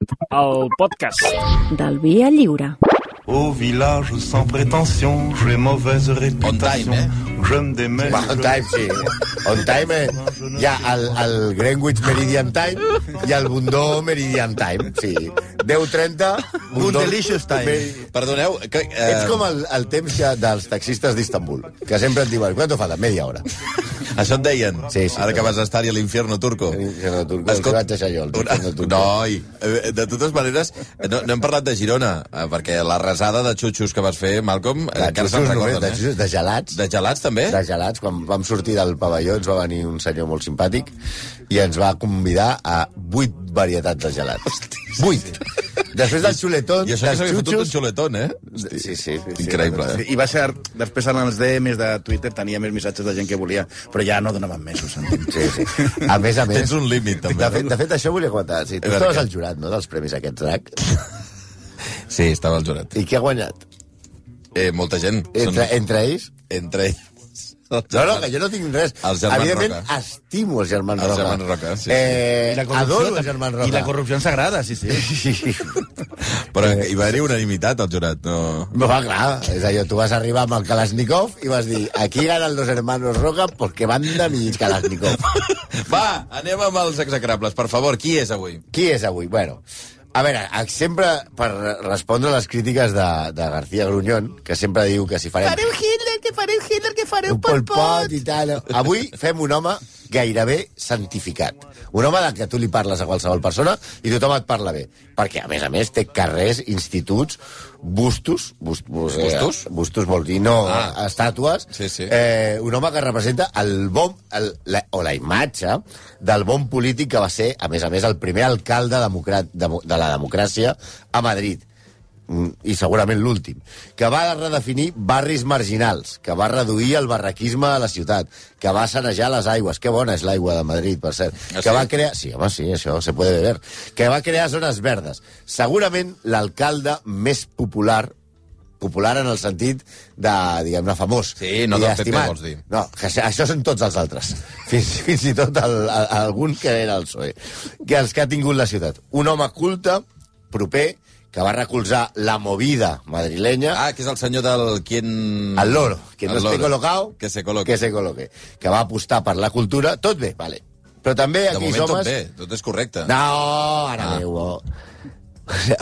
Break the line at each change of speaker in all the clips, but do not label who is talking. el podcast.
Del Via Lliure.
Au village sans prétention, j'ai mauvaise réputation.
On time, eh?
Je me démêle.
Va, On time, sí. On time, eh? Hi ha el, el Greenwich Meridian Time i el Bundó Meridian Time, sí. 10.30...
Un delicious time.
Perdoneu, que... Eh... Ets com el, el temps que dels taxistes d'Istanbul, que sempre et diuen, quanto falta? Media hora.
Això et deien,
Sí, sí,
ara
sí.
que vas estar-hi a l'infierno turco.
L'infierno turco, el que vaig deixar jo, el infierno turco.
Noi, eh, de totes maneres, eh, no, no hem parlat de Girona, eh, perquè la resada de xutxos que vas fer, Malcolm, eh,
De
encara se'n
xussos només,
recorden,
de,
eh?
xussos, de gelats.
De Eh? gelats, també?
de gelats, quan vam sortir del pavelló ens va venir un senyor molt simpàtic i ens va convidar a vuit varietats de gelats. Vuit! Després dels xuletons,
I això que
dels
s'havia fotut un
xutxos...
xuletón, eh?
Sí, sí, sí, sí.
Increïble, eh?
I va ser... Després en els DMs de Twitter tenia més missatges de gent que volia, però ja no donaven més, ho sentim.
Sí, sí. A més a més...
Tens un límit, també.
De fet, de fet, això volia comentar. Sí, tu
veure
estaves
què.
al jurat, no?, dels premis aquests RAC.
Sí, estava al jurat.
I qui ha guanyat?
Eh, molta gent.
Entre,
Són...
entre ells?
entre ells.
No, no, que jo no tinc res.
Els germans
Evidentment,
Roca.
estimo els germans
Els
Roca.
germans Roca, sí, sí.
Eh,
I la corrupció
adoro
tam-
els germans Roca.
I la corrupció ens agrada, sí, sí.
Però
eh,
hi va haver unanimitat al jurat, no...
No, va, clar, és allò, tu vas arribar amb el Kalashnikov i vas dir, aquí ganan los hermanos Roca porque van de mi Kalashnikov.
Va, anem amb els execrables, per favor. Qui és avui?
Qui és avui? Bueno, a veure, sempre per respondre a les crítiques de, de García Gruñón, que sempre diu que si farem... Fareu Hitler, que fareu Hitler, que fareu un Pol Pot i tal. no? Avui fem un home gairebé santificat. Un home del que tu li parles a qualsevol persona i tothom et parla bé. Perquè, a més a més, té carrers, instituts, bustos... Bust, bust,
Bustos?
Eh, bustos vol dir, no,
Ah.
ah. estàtues.
Sí, sí.
Eh, un home que representa el bon, el, la, o la imatge del bon polític que va ser, a més a més, el primer alcalde democrat, de, de la democràcia a Madrid Mm, i segurament l'últim, que va redefinir barris marginals, que va reduir el barraquisme a la ciutat, que va sanejar les aigües, que bona és l'aigua de Madrid, per cert,
Ah,
que
sí?
va crear... Sí, home, sí, això se puede beber. Que va crear zones verdes. Segurament l'alcalde més popular popular en el sentit de, diguem-ne, famós.
Sí, no
i
del PP,
estimat.
vols dir.
No, que això, això són tots els altres. Fins, fins i tot el, el, algun que era el PSOE. Que els que ha tingut la ciutat. Un home culte, proper, que va recolzar la movida madrilenya,
Ah, que és el senyor del... Quien...
al loro, que no
Al
esté
loro.
colocado,
Que se col·loque.
que se coloque. Que va apostar per la cultura, tot bé, vale. Però també
De
aquí
moment
som...
tot bé, tot és correcte.
No, ara
Ah.
ah. meu.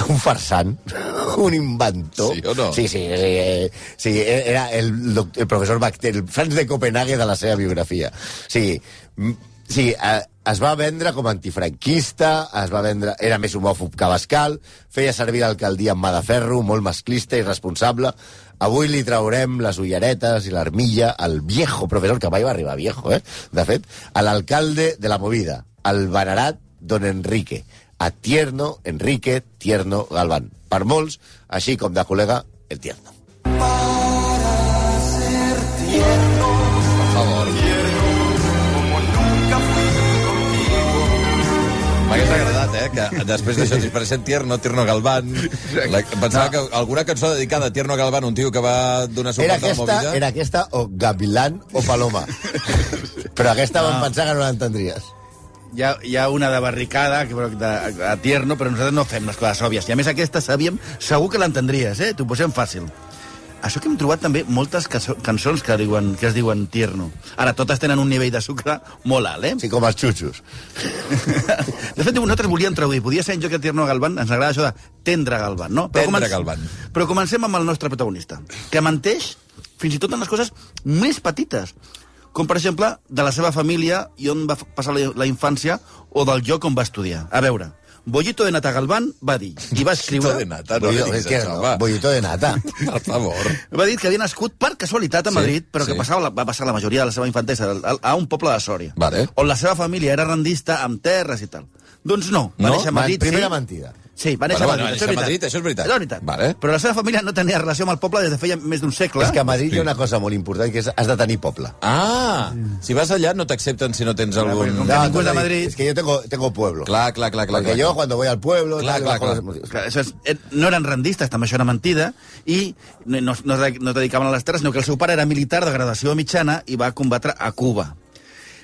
Un farsant, un inventor.
Sí o no?
Sí, sí, sí, eh, sí era el, doc- el professor Bacter, el Franz de Copenhague de la seva biografia. O sigui, mm, sí, eh, es va vendre com a antifranquista, es va vendre, era més homòfob que Bascal, feia servir l'alcaldia amb mà de ferro, molt masclista i responsable. Avui li traurem les ulleretes i l'armilla al viejo professor, que mai va arribar viejo, eh? De fet, a l'alcalde de la movida, al venerat Don Enrique, a Tierno Enrique Tierno Galván. Per molts, així com de col·lega, el Tierno.
Per favor. M'hagués agradat, eh, que després d'això t'inspireixen Tierno, Tierno Galván. La, pensava que alguna cançó dedicada a Tierno Galván, un tio que va donar suport
Era
a la
aquesta,
movida...
era aquesta o Gavilán o Paloma. Però aquesta no. vam pensar que no l'entendries.
Hi ha, hi ha una de barricada, que, però, de, de tierno, però nosaltres no fem les coses òbvies. I a més aquesta sabíem, segur que l'entendries, eh? T'ho posem fàcil. Això que hem trobat també moltes caso- cançons que, diuen, que es diuen tierno. Ara, totes tenen un nivell de sucre molt alt, eh?
Sí, com els xutxos.
De fet, nosaltres volíem traduir. Podia ser en joc de Tierno Galván. Ens agrada això de tendre Galván, no?
Tendre Galván.
Però comencem amb el nostre protagonista, que menteix fins i tot en les coses més petites. Com, per exemple, de la seva família i on va f- passar la, la infància o del lloc on va estudiar. A veure, Bollito de Nata Galván va dir, i va escriure...
Bollito de nata, no
Bolli-
diguis
que-
això, va.
Bollito de nata.
Per favor.
Va dir que havia nascut per casualitat a
Sí,
Madrid, però que
sí.
passava, la- va passar la majoria de la seva infantesa a, a un poble de Sòria,
Vale.
on la seva família era rendista amb terres i tal. Doncs no, va
No?
néixer a Madrid...
primera
sí.
mentida.
Sí, va néixer
Bueno, bueno,
a Madrid,
va néixer a Madrid, això és veritat.
Això és veritat.
Vale.
Però la seva família no tenia relació amb el poble des de feia més d'un segle.
És que a Madrid hi ha una cosa molt important, que és has de tenir poble.
Ah, si vas allà no t'accepten si no tens algun...
perquè com que
Ah,
ningú és
t'ho
de
dic,
Madrid.
Es que yo tengo, tengo pueblo.
Clar, clar, clar, clar.
Porque
clar.
yo cuando voy al pueblo...
Clar,
tal,
clar,
bajo
clar.
los-
Clar, Això és, eh, no eren rendistes, també això era mentida, i no, no, es- no es dedicaven a les terres, sinó que el seu pare era militar de graduació mitjana i va combatre a Cuba.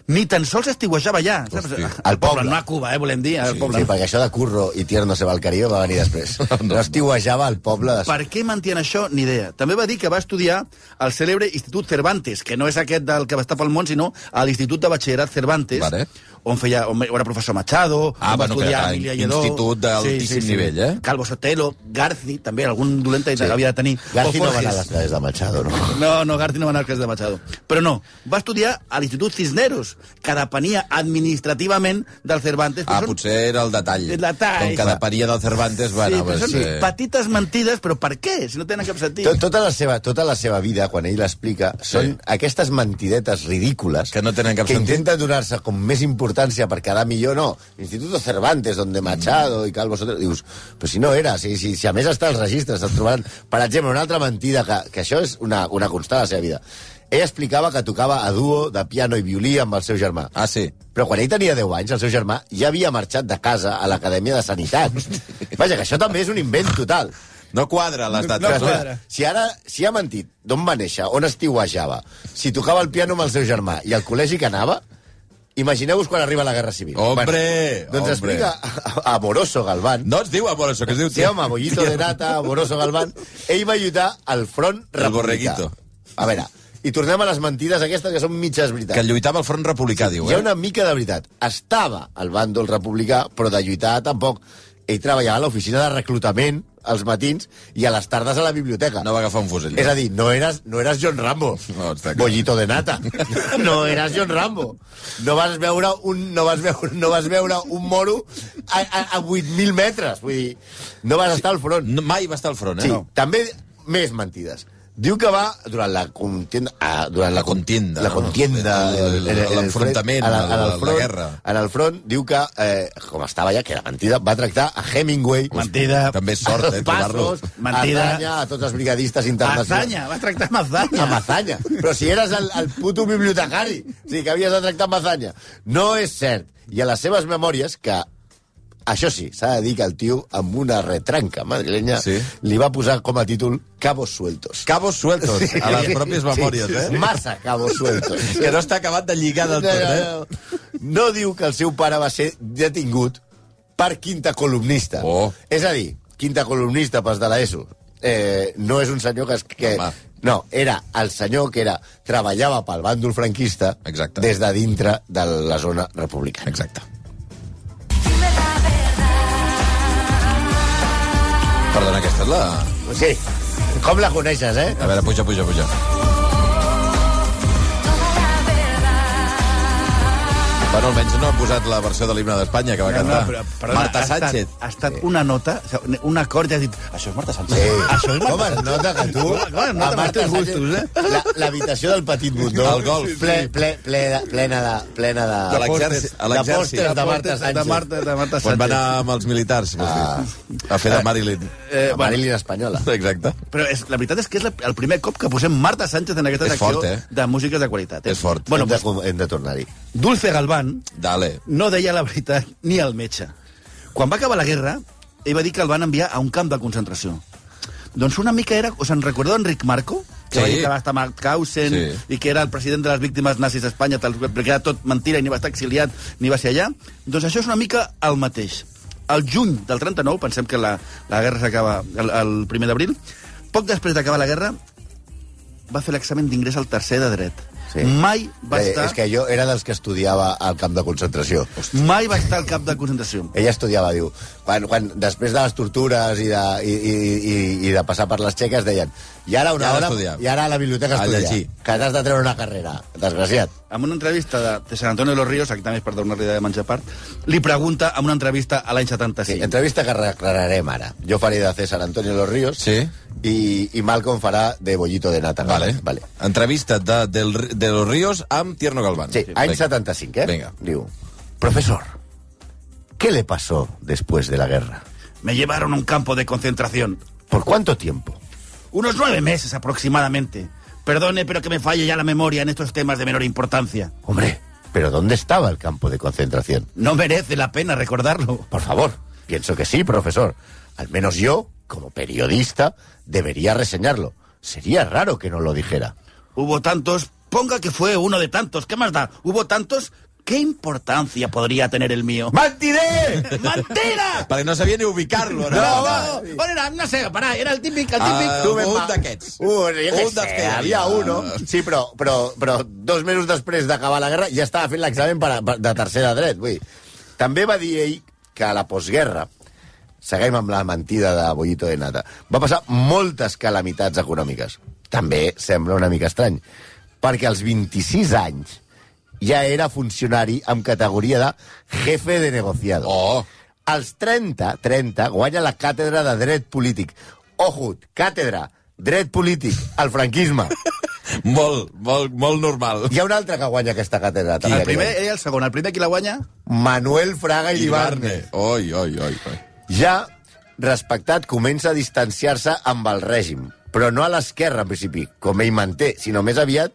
ni tan sols estiuejava allà. Saps?
Hosti.
Al poble.
No a Cuba, eh, volem dir, al
Sí,
poble.
Sí, perquè això de curro i tierno se va al Caribe va venir després. No estiuejava al poble de...
Per què mantien això? Ni idea. També va dir que va estudiar al cèlebre Institut Cervantes, que no és aquest del que va estar pel món, sinó a l'Institut de Batxillerat Cervantes,
Vale.
on, feia, on era professor Machado,
Ah,
on va
bueno,
estudiar
que era
Emília Lledó...
institut d'altíssim nivell, eh?
Calvo Sotelo, Garci, també, algun dolent sí. havia de tenir.
Garci
O
no va anar a
Forges.
les tades de Machado, no?
No, no, Garci no va anar al cas de Machado. Però no, va estudiar a l'Institut Cisneros, que depenia administrativament del Cervantes. però
Ah,
són-
potser era el detall.
El detall.
Com que deparia del Cervantes, bueno,
sí, però
pues,
són
eh,
petites mentides, però per què? Si no tenen cap sentit.
Tot, tota, la seva, tota la seva vida, quan ell l'explica, són
Sí.
aquestes mentidetes ridícules
Que no tenen cap
que
sentit.
intenta donar-se com més importància per quedar millor, no. Instituto Cervantes, donde
Mm.
Machado i Calvo Sotelo... Dius, però si no era, si, si, si a més està als registres, estan trobant, per exemple, una altra mentida, que, que això és una, una constant a la seva vida. Ell explicava que tocava a duo de piano i violí amb el seu germà.
Ah, sí.
Però quan ell tenia 10 anys, el seu germà ja havia marxat de casa a l'Acadèmia de Sanitat. Vaja, que això també és un invent total.
No quadra les dates,
Clar,
no?
clar, si ara si ha mentit d'on va néixer, on estiuejava, si tocava el piano amb el seu germà i al col·legi que anava, imagineu-vos quan arriba la Guerra Civil.
Hombre,
doncs
hombre.
explica a, a Amoroso Galván,
No es diu amor, això que es diu...
sí, home, Bollito de Nata, Amoroso Galván, ell va lluitar al front
El
republicà.
borreguito.
A veure, i tornem a les mentides aquestes que són mitges veritats.
Que lluitava al front republicà, diu,
Hi
eh?
ha una mica de veritat. Estava al bàndol republicà, però de lluitar tampoc. Ell treballava a l'oficina de reclutament als matins i a les tardes a la biblioteca.
No va agafar un fusell.
És a dir, no eres, no eres John Rambo,
No, està clar.
bollito de nata. No eres John Rambo. No vas veure un, no vas veure, no vas veure un moro a, a, a 8.000 metres. Vull dir, no vas estar al front.
No, mai va estar al front, eh?
Sí,
No.
també més mentides. Diu que va durant la contienda... Ah, durant
La contienda,
La
no?
contienda...
El-
en- en- en el
l'enfrontament,
front- en el- en el
la- la
front-
guerra.
En el front diu que, eh, com estava ja, que era mentida, va tractar a Hemingway...
Mentida.
També és sort, eh, trobar-lo.
Passos,
Mentida.
Azanya, a tots els brigadistes internacionals.
Mazanya, vas tractar Mazanya.
Ah,
A Mazanya. Però si eres el, el puto bibliotecari, o sigui, que havies de tractar Mazanya. No és cert. I a les seves memòries, que això sí, s'ha de dir que el tio, amb una retranca madrilenya,
Sí.
li va posar com a títol Cabos Sueltos.
Cabos sueltos, a les pròpies memòries,
sí,
eh?
Massa Cabos Sueltos.
Que no està acabat de lligar del tot, eh?
no, no. no diu que el seu pare va ser detingut per quinta columnista.
Oh.
És a dir, quinta columnista pels de l'ESO. Eh, no és un senyor que... es- que
Home.
no, era el senyor que era treballava pel bàndol franquista
Exacte.
des de dintre de la zona republicana.
Exacte. Perdona, aquesta és la...
Sí. Com la coneixes, eh?
A veure, puja, puja, puja. Bueno, almenys no han posat la versió de l'himne d'Espanya que va cantar. Marta Sánchez.
Ha estat, ha estat una nota, o sigui, un acord, i has dit, això és Marta Sánchez.
Sí.
Això és Marta
Com es nota que tu...
Clar, clar, nota
a Marta
els teus
Sánchez,
gustos, eh?
la- L'habitació del Petit Bundó.
El golf.
Ple, ple, ple, de, plena de... Plena de...
De l'exèrcit, a
de
l'exèrcit.
pòsters de Marta Sánchez.
De Marta, de
Quan
Marta Sánchez. Ah.
va anar amb els militars, vols dir? A fer de Marilyn.
Eh,
Eh,
la
bueno,
Marilyn espanyola.
Exacte.
però és, la veritat és que és la, el primer cop que posem Marta Sánchez en aquesta
És
secció
fort, eh?
de músiques de qualitat. eh?
És fort.
Bueno,
Bueno,
hem de, com- hem de tornar-hi.
Dulce Galván,
Dale.
no deia la veritat ni al metge. Quan va acabar la guerra, ell va dir que el van enviar a un camp de concentració. Doncs una mica era... Us en recordeu Enric Marco? Que va
Sí.
dir que va estar a Mauthausen
Sí.
i que era el president de les víctimes nazis d'Espanya, tal, perquè era tot mentira i ni va estar exiliat ni va ser allà. Doncs això és una mica el mateix. El juny del 39, pensem que la, la guerra s'acaba el, el primer d'abril, poc després d'acabar la guerra va fer l'examen d'ingrés al tercer de dret.
Sí.
Sí. Mai va
Eh,
estar...
és que jo era dels que estudiava al camp de concentració.
Mai va estar al cap de concentració.
Ella estudiava, diu, quan, quan després de les tortures i de, i, i, i, i de passar per les xeques, deien, i ara
I
una
ara
hora,
estudiar.
i ara a la
A
biblioteca estudiar,
llegir.
que t'has de treure una carrera, desgraciat.
en una entrevista de, de San Antonio de los Ríos, aquí també és per donar-li de menjar part, li pregunta en una entrevista a l'any 75.
Sí. Entrevista que aclararem ara. Jo faré de César Antonio Los Ríos
Sí.
i, i Malcolm farà de Bollito de Nata.
Vale.
vale.
Entrevista de, del, de los Ríos amb Tierno Galván.
Sí, any
Vinga.
75, ¿eh?
Venga.
Digo, profesor, ¿qué le pasó después de la guerra?
Me llevaron a un campo de concentración.
¿Por cuánto tiempo?
Unos nueve meses aproximadamente. Perdone, pero que me falle ya la memoria en estos temas de menor importancia.
Hombre, ¿pero dónde estaba el campo de concentración?
No merece la pena recordarlo.
Por favor, pienso que sí, profesor. Al menos yo, como periodista, debería reseñarlo. Sería raro que no lo dijera.
Hubo tantos... Ponga que fue uno de tantos. ¿Qué más da? Hubo tantos ¿Qué importancia podría tener el mío?
¡Mentider!
¡Mentira!
Perquè no sabia ni ubicar-lo.
No,
no,
va.
On era? No sé, parà, era el típic, el típic...
Ah,
Tu ben
un
va.
d'aquests.
Un, Uh, jo què
Un
sé,
dels que hi
havia
havia.
un, no? Sí, però, però, però dos mesos després d'acabar la guerra ja estava fent l'examen per, per, de tercer de dret. Vull. dir. També va dir ell que a la postguerra, seguim amb la mentida de Bollito de Nata, va passar moltes calamitats econòmiques. També sembla una mica estrany, perquè als 26 anys ja era funcionari amb categoria de jefe de negociado.
Oh.
Als 30, 30, guanya la càtedra de dret polític. Ojo, càtedra, dret polític, el franquisme.
Molt, molt, molt normal.
Hi ha un altre que guanya aquesta càtedra. també,
El
aquell
primer i el segon. El primer qui la guanya?
any. Manuel Fraga i Libarne.
Oi, oi, oi, oi.
Ja, respectat, comença a distanciar-se amb el règim, però no a l'esquerra, en principi, com ell manté, sinó més aviat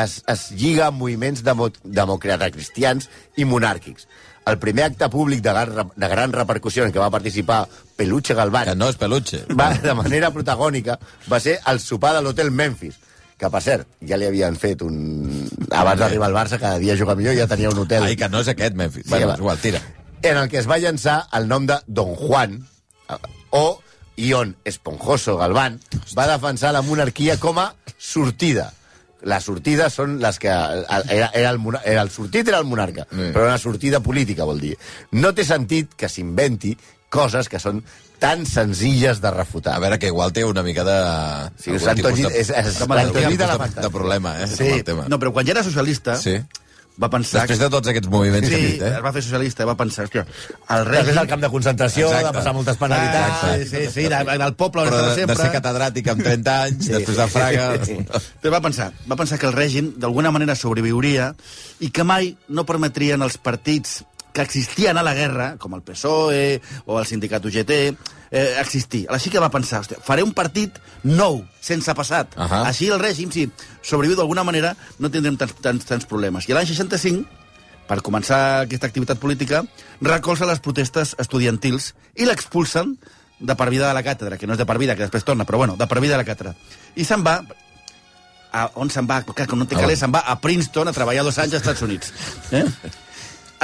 es, es lliga a moviments demo, democratacristians i monàrquics. El primer acte públic de gran, de gran repercussió en què va participar Peluche Galván...
Que no és peluche.
va, de manera protagònica va ser el sopar de l'hotel Memphis que, per cert, ja li havien fet un... Abans d'arribar al Barça, cada dia juga millor, ja tenia un hotel.
Ai, que no és aquest, Memphis.
Sí,
Sí, bueno,
va.
és igual, tira.
En el que es va llançar el nom de Don Juan, eh, o Ion Esponjoso Galván, va defensar la monarquia com a sortida. Les sortides són les que... Era, era, el, mona- era el sortit era el monarca,
Sí.
però una sortida política, vol dir. No té sentit que s'inventi coses que són tan senzilles de refutar.
A veure, que igual té una mica de...
Sí,
algun
s'han
tipus
tollit-
de-
és- és-
algun
l'han tollit
tipus
a la
de,
pantalla.
de problema, eh? amb el tema.
No, però quan ja era socialista,
Sí.
va pensar...
Després de tots aquests moviments que
Sí,
hem dit,
es
eh?
va fer socialista i va pensar, hòstia, el
Després
règim...
del camp de concentració,
Exacte.
de passar moltes penalitats...
Ah, sí, sí, sí, de- del poble on
Però
estava
de,
sempre...
de ser catedràtic amb 30 anys, després de Fraga...
Però va pensar, va pensar que el règim d'alguna manera sobreviuria i que mai no permetrien els partits que existien a la guerra, com el PSOE o el sindicat UGT, eh, existir. Així que va pensar, hòstia, faré un partit nou, sense passat.
Ahà.
Uh -huh. Així el règim, si sobreviu d'alguna manera, no tindrem tants, tants, tants problemes. I l'any 65, per començar aquesta activitat política, recolza les protestes estudiantils i l'expulsen de per vida de la càtedra, que no és de per vida, que després torna, però bueno, de per vida de la càtedra. I se'n va, a, on se'n va, clar, com no té
Ah,
calés,
bueno.
se'n va a Princeton a treballar dos anys als Estats Units. Eh?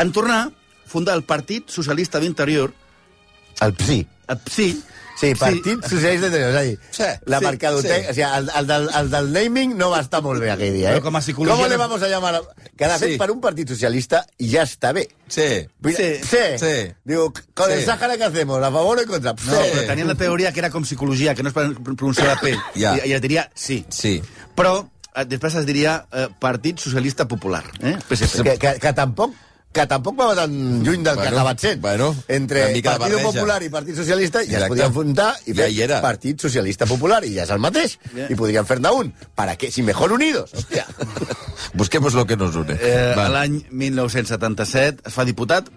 En tornar, funda el Partit Socialista d'Interior, eh,
El PSI.
el PSI,
Sí, Partit Socialista de És a dir,
Sí,
la
sí,
mercadoteca...
sí.
O sigui, el, el, del, el del naming no va estar molt bé aquell dia, eh?
Però com a psicologia-
¿Cómo le vamos a llamar? A... Que, de fet,
Sí.
per un partit socialista ja està bé.
Sí.
Vull dir,
Sí.
sí.
Sí.
Digo, con el
Sí.
Sàhara que hacemos? A favor o en contra?
no, però tenien la teoria que era com psicologia, que no es pr- pronunciava P,
Ja.
i, i es diria sí.
Sí.
Però eh, després es diria eh, Partit Socialista Popular, eh? PSP.
Que, que, que tampoc que tampoc va tan lluny del
Bueno,
que estava sent.
bueno,
Entre
una mica de
Partit
barreja.
Popular i Partit Socialista ja
Exacte.
es podia enfrontar i
Ja
fer
hi era.
Partit Socialista Popular i ja és el mateix.
Ja.
I podrien fer-ne un. Per a què? Si mejor unidos. Hòstia.
Busquemos lo que nos une.
Eh,
Va.
a L'any 1977 es fa diputat,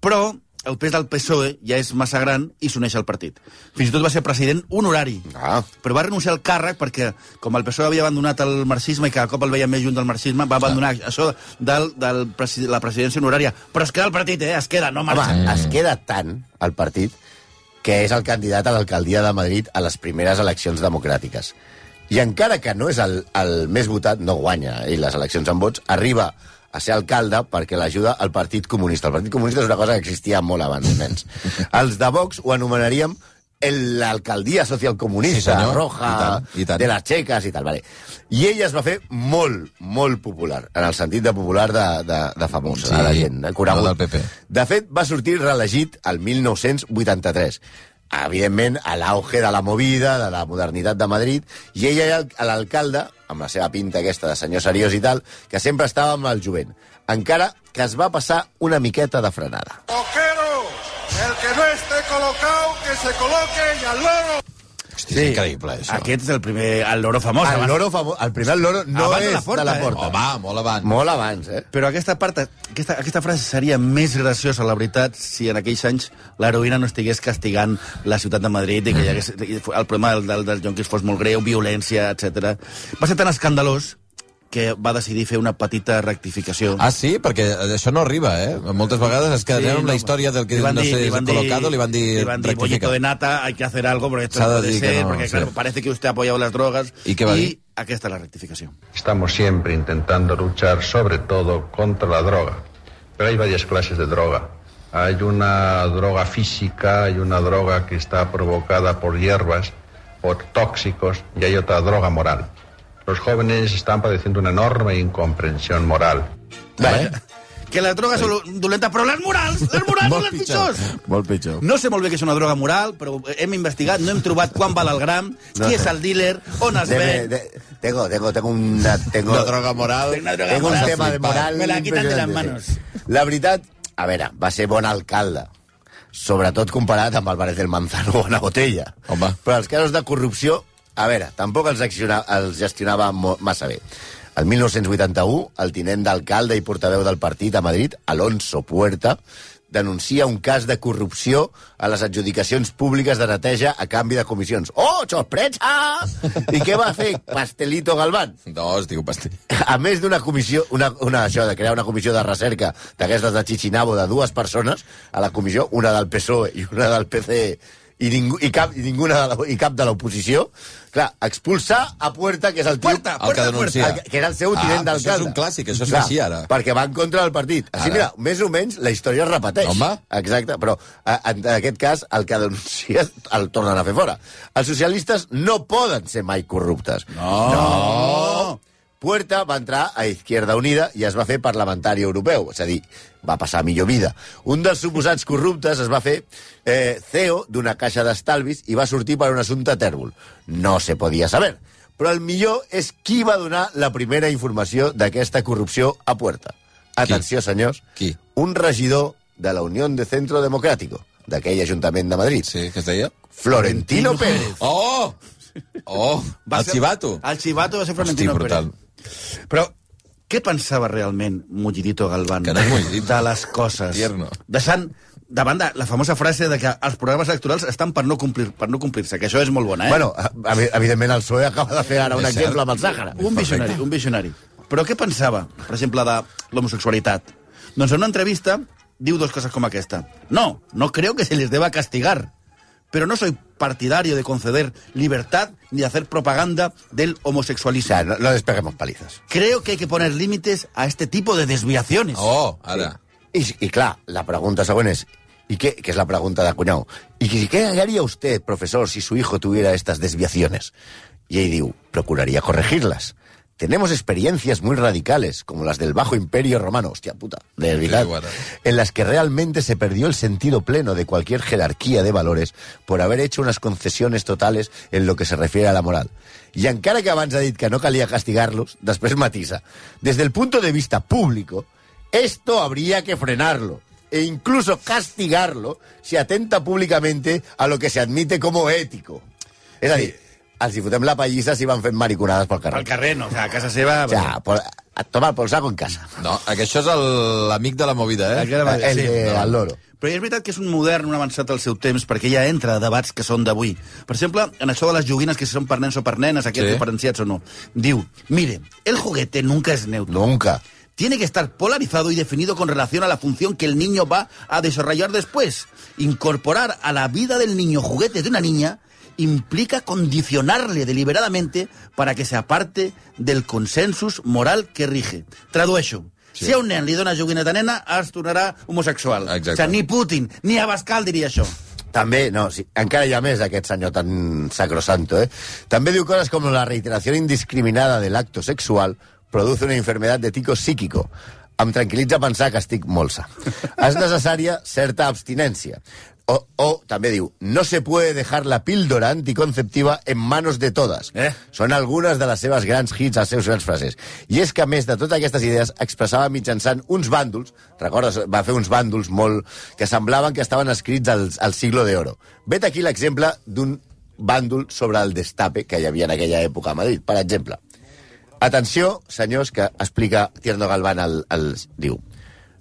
però el pes del PSOE E ja és massa gran i s'uneix al partit. Fins i tot va ser president honorari.
Ah.
Però va renunciar al càrrec perquè, com el PSOE E havia abandonat el marxisme i cada cop el veia més lluny del marxisme, va abandonar això del, del presi la presidència honorària. Però es queda el partit, eh? Es queda, no
Home,
marxa.
es queda tant el partit que és el candidat a l'alcaldia de Madrid a les primeres eleccions democràtiques. I encara que no és el, el més votat, no guanya ell les eleccions amb vots, arriba a ser alcalde perquè l'ajuda el Partit Comunista. El Partit Comunista és una cosa que existia molt abans, nens. Els de Vox ho anomenaríem el- l'alcaldia socialcomunista,
Sí, senyor.
roja,
I tant, i tant.
de les txeques i tal. Vale. I ella es va fer molt, molt popular, en el sentit de popular de, de, de famosa,
Sí,
de la gent, de conegut.
no del PP.
De fet, va sortir reelegit el 1983. Evidentment, a l'auge de la movida, de la modernitat de Madrid, i ella era el- l'alcalde, amb la seva pinta aquesta de senyor seriós i tal, que sempre estava amb el jovent. Encara que es va passar una miqueta de frenada.
Coqueros, el que no esté colocado, que se coloque y al loro.
Hosti, és increïble, això.
Aquest és el primer, el loro famós.
el,
abans-
loro famo... el primer el loro no
Abans de
és
la porta,
de la
eh?
porta.
Home, molt avant.
Molt abans, eh?
Però aquesta part, aquesta, aquesta frase seria més graciosa, la veritat, si en aquells anys l'heroïna no estigués castigant la ciutat de Madrid i que hi hagués, i el problema del, del, del Jonquis fos molt greu, violència, etc. Va ser tan escandalós que va decidir fer una petita rectificació.
Ah, sí? Perquè això no arriba, eh? Moltes vegades es queden amb la història del que
Li van
no
dir-
sé,
li van dir-
colocado, li van dir...
Li van dir,
rectifica.
bollito de nata, hay que hacer algo, porque esto
S'ha
no
de
puede
dir que
ser,
no,
porque
sí.
claro, parece que usted ha apoyado las drogas.
¿Y qué va a dir?
Aquesta és la rectificació.
Estamos siempre intentando luchar sobre todo contra la droga, pero hay varias clases de droga. Hay una droga física, hay una droga que está provocada por hierbas, por tóxicos y hay otra droga moral. Los jóvenes están padeciendo una enorme incomprensión moral.
Vale.
Que les drogues són dolentes, però les morals, les morals són
Molt
les
pitjor.
pitjors.
Molt pitjor.
No sé molt bé què és una droga moral, però hem investigat, no hem trobat quan val el gram, qui és el dealer, on es
Deme-
ven...
de- tengo, tengo, tengo una... Tengo,
Una droga moral.
Una droga
tengo un
moral.
tema de moral...
Me la quitan de les
impressionant,
manos.
sí. La veritat, a veure, va ser bon alcalde, sobretot comparat amb Álvarez del Manzano a la botella.
Home.
Però els casos de corrupció, a veure, tampoc els, acciona, els gestionava mo- massa bé. El 1981, el tinent d'alcalde i portaveu del partit a Madrid, Alonso Puerta, denuncia un cas de corrupció a les adjudicacions públiques de neteja a canvi de comissions. Oh, sorpresa! I què va fer Pastelito Galván?
No, es diu pastell.
a més d'una comissió, una, una, això, de crear una comissió de recerca d'aquestes de Chichinabo de dues persones, a la comissió, una del PSOE E i una del PCE, i, ningú, i, cap, i, ninguna de la, i cap de l'oposició, clar, expulsar a Puerta, que és el tio...
Puerta,
El que denuncia.
El, que era el seu tinent
Ah,
d'alcalde.
Això és un clàssic, això es
Clar,
fa així ara.
Perquè va en contra del partit. Així,
Ara.
mira, més o menys la història es repeteix.
Home.
Exacte, però a- en aquest cas el que denuncia el tornen a fer fora. Els socialistes no poden ser mai corruptes. No! no. Puerta va entrar a Izquierda Unida i es va fer parlamentari europeu, és a dir, va passar millor vida. Un dels suposats corruptes es va fer eh, CEO d'una caixa d'estalvis i va sortir per un assumpte tèrbol. No se podia saber. Però el millor és qui va donar la primera informació d'aquesta corrupció a Puerta. Atenció, senyors.
Qui?
Un regidor de la Unió de Centro Democrático, d'aquell Ajuntament de Madrid.
Sí, què es deia?
Florentino Pérez.
Oh! Oh! el
Va ser- Ah,
Chivato.
El Chivato va ser
Hosti,
Florentino
brutal.
Pérez. Però què pensava realment Mullidito Galván
Que no és Mullidito.
de les coses?
Tierno.
Deixant de banda la famosa frase de que els programes electorals estan per no complir- per no complir-se, no complir que això és molt bona, eh?
Bueno, a- a- evidentment el PSOE acaba de fer ara un
És cert.
exemple amb el Sàhara.
Un visionari, un visionari. Però què pensava, per exemple, de l'homosexualitat? Doncs en una entrevista diu dos coses com aquesta. No, no creo que se les deba castigar, pero no soy partidario de conceder libertad ni de hacer propaganda del
O sea,
homosexualismo.
no, no despeguemos palizas.
Creo que hay que poner límites a este tipo de desviaciones.
Oh, ara.
I, I clar, la pregunta següent és... ¿Y qué? Que es la pregunta de Acuñao. ¿Y qué, qué haría usted, profesor, si su hijo tuviera estas desviaciones? Y ahí digo, procuraría corregirlas. Tenemos experiencias muy radicales, como las del Bajo Imperio Romano, hostia puta, de verdad,
Sí, guarda.
en las que realmente se perdió el sentido pleno de cualquier jerarquía de valores por haber hecho unas concesiones totales en lo que se refiere a la moral. I encara que abans ha dit que no calia castigar-los, després matisa. Desde el punto de vista público, esto habría que frenarlo e incluso castigarlo si atenta públicamente a lo que se admite como ético. És a dir, els hi fotem la pallissa si van fent mariconades pel carrer.
Al carrer, no. O sea, a casa seva... pues,
O sea, por, a tomar por saco en casa.
No, que això és el- l'amic de la movida, eh?
Aquella vegada,
El
sí.
de
No.
al loro.
Però és veritat que és un modern, un avançat al seu temps, perquè ja entra a debats que són d'avui. Per exemple, en això de les joguines, que si són per nens o per nenes, aquests
Sí.
sí. diferenciats o no. Diu, mire, el juguete nunca es neutro.
Nunca.
Tiene que estar polarizado y definido con relación a la función que el niño va a desarrollar después. Incorporar a la vida del niño juguetes de una niña implica condicionarle deliberadamente para que se aparte del consensus moral que rige. Tradueixo. Sí. Si a un nen li dona joguineta nena, es tornarà homosexual.
Exacte.
O sigui, ni Putin, ni Abascal diria això.
També, no, sí, encara hi ha més aquest senyor tan sacrosanto, eh? També diu coses com la reiteració indiscriminada del acto sexual produce una enfermedad de tico psíquico. Em tranquil·litza pensar que estic molt sa. És necessària certa abstinència. O, o també diu, no se puede dejar la píldora anticonceptiva en manos de todas.
Eh?
Són algunes de les seves grans hits, les seves grans frases. I és que, a més de totes aquestes idees, expressava mitjançant uns bàndols, recordes, va fer uns bàndols molt... que semblaven que estaven escrits al, al siglo de oro. Vet aquí l'exemple d'un bàndol sobre el destape que hi havia en aquella època a Madrid, per exemple. Atenció, senyors, que explica Tierno Galván al, al diu.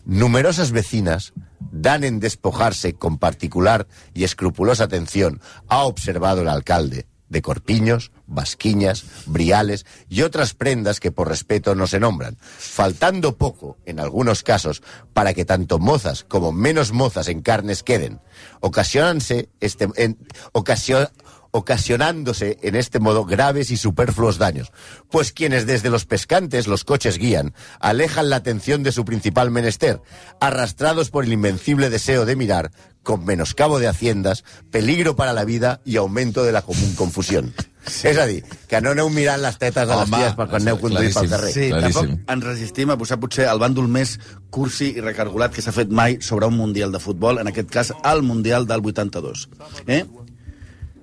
Numerosas vecinas dan en despojarse con particular y escrupulosa atención, ha observado el alcalde, de corpiños, basquiñas, briales y otras prendas que por respeto no se nombran, faltando poco, en algunos casos, para que tanto mozas como menos mozas en carnes queden. Ocasionanse este, en- ocasio- ocasionándose en este modo graves y superfluos daños, pues quienes desde los pescantes los coches guían, alejan la atención de su principal menester, arrastrados por el invencible deseo de mirar, con menoscabo de haciendas, peligro para la vida i augmento de la común confusión. Sí. És a dir, que no aneu mirant les tetes de les
Home,
ties per quan aneu conduint pel
claríssim.
carrer.
Sí,
Claríssim.
tampoc ens resistim a posar potser el bàndol més cursi i recargolat que s'ha fet mai sobre un Mundial de futbol, en aquest cas el Mundial del 82. Eh?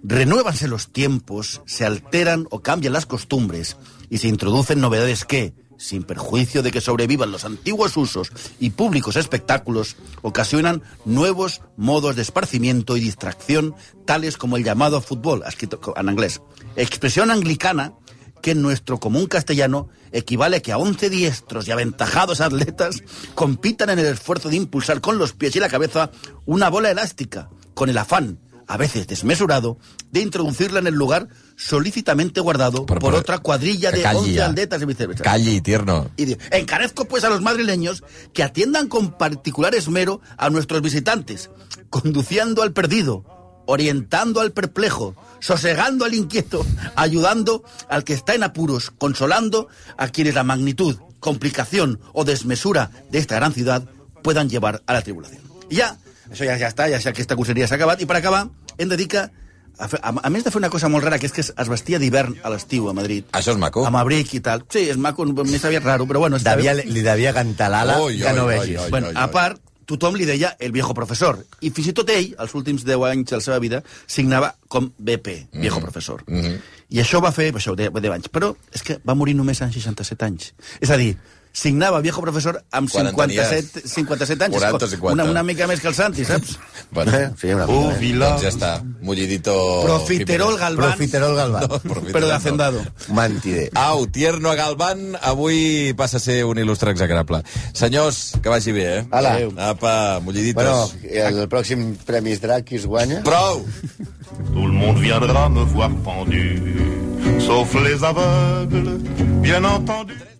Renuévanse los tiempos, se alteran o cambian las costumbres y se introducen novedades que, sin perjuicio de que sobrevivan los antiguos usos y públicos espectáculos, ocasionan nuevos modos de esparcimiento y distracción, tales como el llamado fútbol, ha escrito co- en inglés. Expresión anglicana que en nuestro común castellano equivale a que a 11 diestros y aventajados atletas compitan en el esfuerzo de impulsar con los pies y la cabeza una bola elástica, con el afán, a veces desmesurado, de introducirla en el lugar solícitamente guardado
Pero,
por
pero,
otra cuadrilla
que
de
calli
11
ja.
atletas y viceversa.
Calli, tierno.
Y dice, encarezco pues a los madrileños que atiendan con particular esmero a nuestros visitantes, conduciendo al perdido, orientando al perplejo, sosegando al inquieto, ayudando al que está en apuros, consolando a quienes la magnitud, complicación o desmesura de esta gran ciudad puedan llevar a la tribulación. I ja, això ja, ja està, ja sé que aquesta curseria s'ha acabat, i per acabar hem de dir que, a, fer, a, a més de fer una cosa molt rara, que és que es, es vestia d'hivern a l'estiu a Madrid.
Això és maco.
Amb abric i tal. Sí, és maco, més aviat raro, però bueno... Està
Devia,
bé.
li devia cantar l'ala
Oi,
que
oi,
no
oi,
vegis.
oi.
Bueno, a part, tothom li deia el viejo professor. I fins i tot ell, els últims 10 anys de la seva vida, signava com BP,
Mm-hmm.
viejo professor. Mm -hmm. I això va fer, això, 10, 10 anys. Però és que va morir només amb 67 anys. És a dir, signava viejo professor amb
Quan en
57, 57 anys.
40, 50.
Una, una mica més que el Santi, saps?
Bueno,
Sí, una
Au
doncs
mica, eh?
ja
village
està. Mullidito...
Profiterol Galván,
Profiterol Galván.
No, profiterol
però de
no.
hacendado.
Mentider.
Au, Tierno a Galván, avui passa a ser un il·lustre execrable. Senyors, que vagi bé, eh?
Ala.
Apa, mulliditos.
Bueno, el pròxim Premis Drac qui es guanya...
Prou!
Tout le monde viendra me voir pendu, sauf les aveugles, bien entendu.